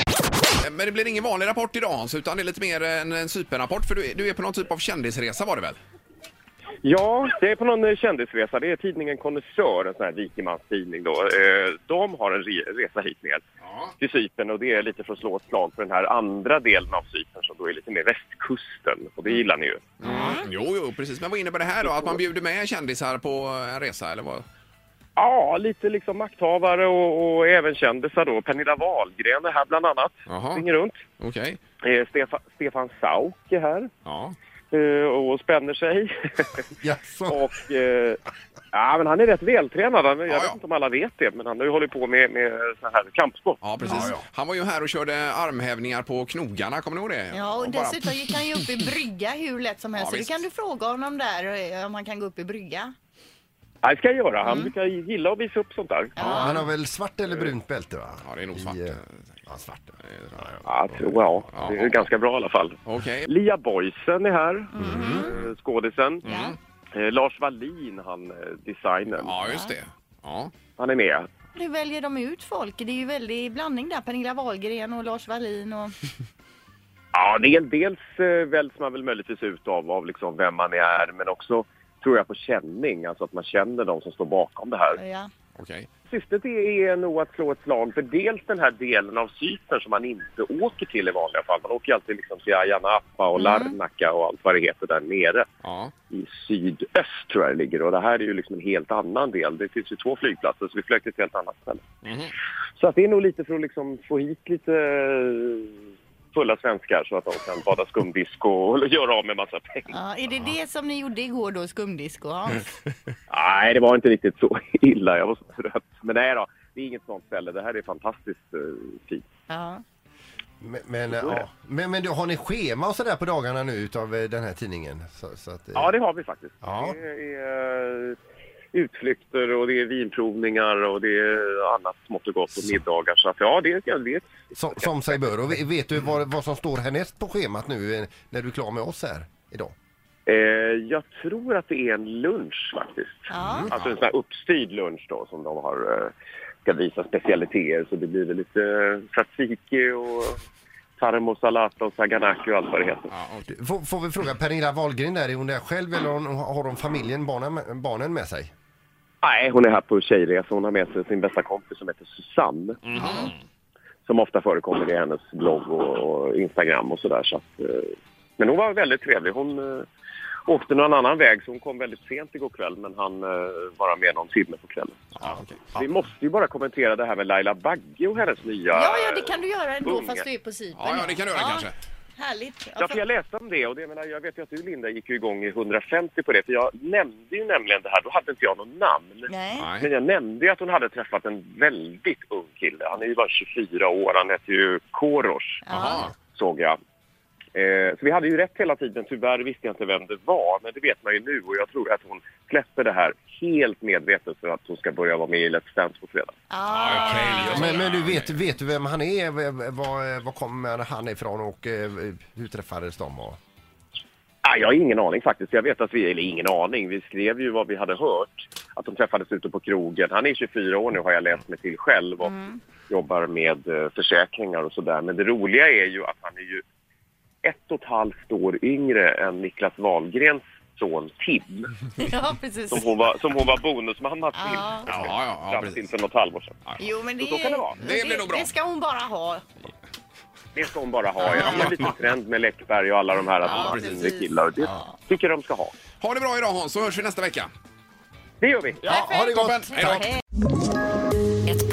Eh, Men det blir ingen vanlig rapport idag Hans, utan det är lite mer en, en superrapport för du är, du är på någon typ av kändisresa var det väl? Ja, det är på någon eh, kändisresa. Det är tidningen Konnässör, en sån här rikemanstidning då. Eh, De har en re- resa hit ner till Cypern och det är lite för att slå ett slag för den här andra delen av Cypern som då är lite mer västkusten och det gillar ni ju. Mm. Jo, jo, precis. Men vad innebär det här då? Att man bjuder med kändisar på en resa eller vad? Ja, lite liksom makthavare och, och även kändisar då. Pernilla Wahlgren är här bland annat. Jaha. Springer runt. Okej. Eh, Stefan, Stefan Sauk är här Ja. eh, och spänner sig. Jaså? och, eh, ja, men han är rätt vältränad. Han, jag Ja, ja. vet inte om alla vet det, men han har ju hållit på med, med så här kampsport. Ja, precis. Ja, ja. Han var ju här och körde armhävningar på knogarna, kommer ni ihåg det? Ja, och bara- dessutom gick han ju upp i brygga hur lätt som helst. Ja, så det visst. kan du fråga honom där eh, om han kan gå upp i brygga. Ja, det ska jag göra. Han Mm. brukar gilla att visa upp sånt där. Ja. Han har väl svart eller brunt bälte va? Ja, det är nog svart. I, eh, ja, svart. jag tror jag. Ja. Det är ganska bra i alla fall. Okej. Lia Boysen är här, Mm. eh, skådisen. Ja. Eh, Lars Wallin, han eh, designern, Ja, just det. Ja. han är med. Nu väljer de ut folk. Det är ju väldigt blandning där. Pernilla Wahlgren och Lars Wallin och... Ja, det är dels eh, väljs man väl möjligtvis ut av, av liksom vem man är, men också tror jag på känning, alltså att man känner de som står bakom det här. Ja. Okej. Syftet är är nog att slå ett slag för dels den här delen av Cypern som man inte åker till i vanliga fall. Man åker ju alltid liksom till Ayia Napa och Larnaca och allt vad det heter där nere. Ja. i sydöst tror jag det ligger och det här är ju liksom en helt annan del. Det finns ju två flygplatser så vi flög till ett helt annat ställe. Så att det är nog lite för att liksom få hit lite eh, fulla svenskar så att de kan bada skumdisco och göra av med massa pengar. Ja, är det det som ni gjorde igår då, skumdisco? Ja. Mm. Nej, det var inte riktigt så illa. Jag var så trött. Men nej då, det är inget sånt ställe. Det här är fantastiskt eh, fint. Ja. Men, men, eh, ja. men, men då har ni schema och sådär på dagarna nu utav eh, den här tidningen? Så, så att, eh, Ja, det har vi faktiskt. Ja. Det är eh, utflykter och det är vinprovningar och det är annat smått och gott och middagar. Så att, ja, det är, det är ett som, som sig bör. Och ve- vet du vad, vad som står härnäst på schemat nu eh, när du är klar med oss här idag? Eh, jag tror att det är en lunch faktiskt. Ja. Alltså en sån här uppstyrd lunch då som de har, eh, ska visa specialiteter. Så det blir väl lite eh, tzatziki och tarmosalata och saganaki och allt vad det heter. ja okej. Du, Får, får vi fråga Pernilla Wahlgren där, är hon där själv eller har hon- har hon familjen, barnen, barnen med sig? Nej, hon är här på tjejresa. Hon har med sig sin bästa kompis som heter Susanne. Mhm. Som ofta förekommer i hennes blogg och, och Instagram och sådär. Så att, eh, men hon var väldigt trevlig. Hon eh, åkte någon annan väg så hon kom väldigt sent igår kväll men han eh, vara med någon timme på kvällen. Ja, okej. Vi måste ju bara kommentera det här med Laila Bagge och hennes nya... ja, ja, det kan du göra ändå Unga. fast du är på Cypern. Ja, ja, det kan du göra kanske. Härligt. Ja, för jag läste om det och det, jag menar, jag vet ju att du Linda gick ju igång i 150 på det för jag nämnde ju nämligen det här, då hade inte jag något namn. Nej. Nej. Men jag nämnde ju att hon hade träffat en väldigt ung kille. Han är ju bara 24 år, han heter ju Korosh, Jaha. såg jag. Eh, så vi hade ju rätt hela tiden, tyvärr visste jag inte vem det var, men det vet man ju nu och jag tror att hon släpper det här helt medvetet för att hon ska börja vara med i Let's Dance på fredag. Ah. Ja. Okej. Men, men du vet, vet du vem han är? V- eh, Var, var kommer han ifrån och eh, hur träffades de? Och... Ah, jag har ingen aning faktiskt. Jag vet att vi, eller ingen aning, vi skrev ju vad vi hade hört. Att de träffades ute på krogen. Han är 24 år nu har jag läst mig till själv och jobbar med eh, försäkringar och sådär. Men det roliga är ju att han är ju ett och ett halvt år yngre än Niklas Wahlgrens son Tim. ja, precis. Som hon var, som hon var bonusmamma till. Ja. Ja, ja, ja, Fram till precis. för något halvår sedan. Jo, men det, Så kan det vara. Det blir nog bra. Det ska hon bara ha. Det ska hon bara ha. Ja. Det är en liten trend med Läckberg och alla de här att Ja, de har precis. yngre killar. Det tycker jag de ska ha. Ha det bra idag Hans, så hörs vi nästa vecka. Det gör vi. Ja, ha det Toppen. gott! Hej då. Ett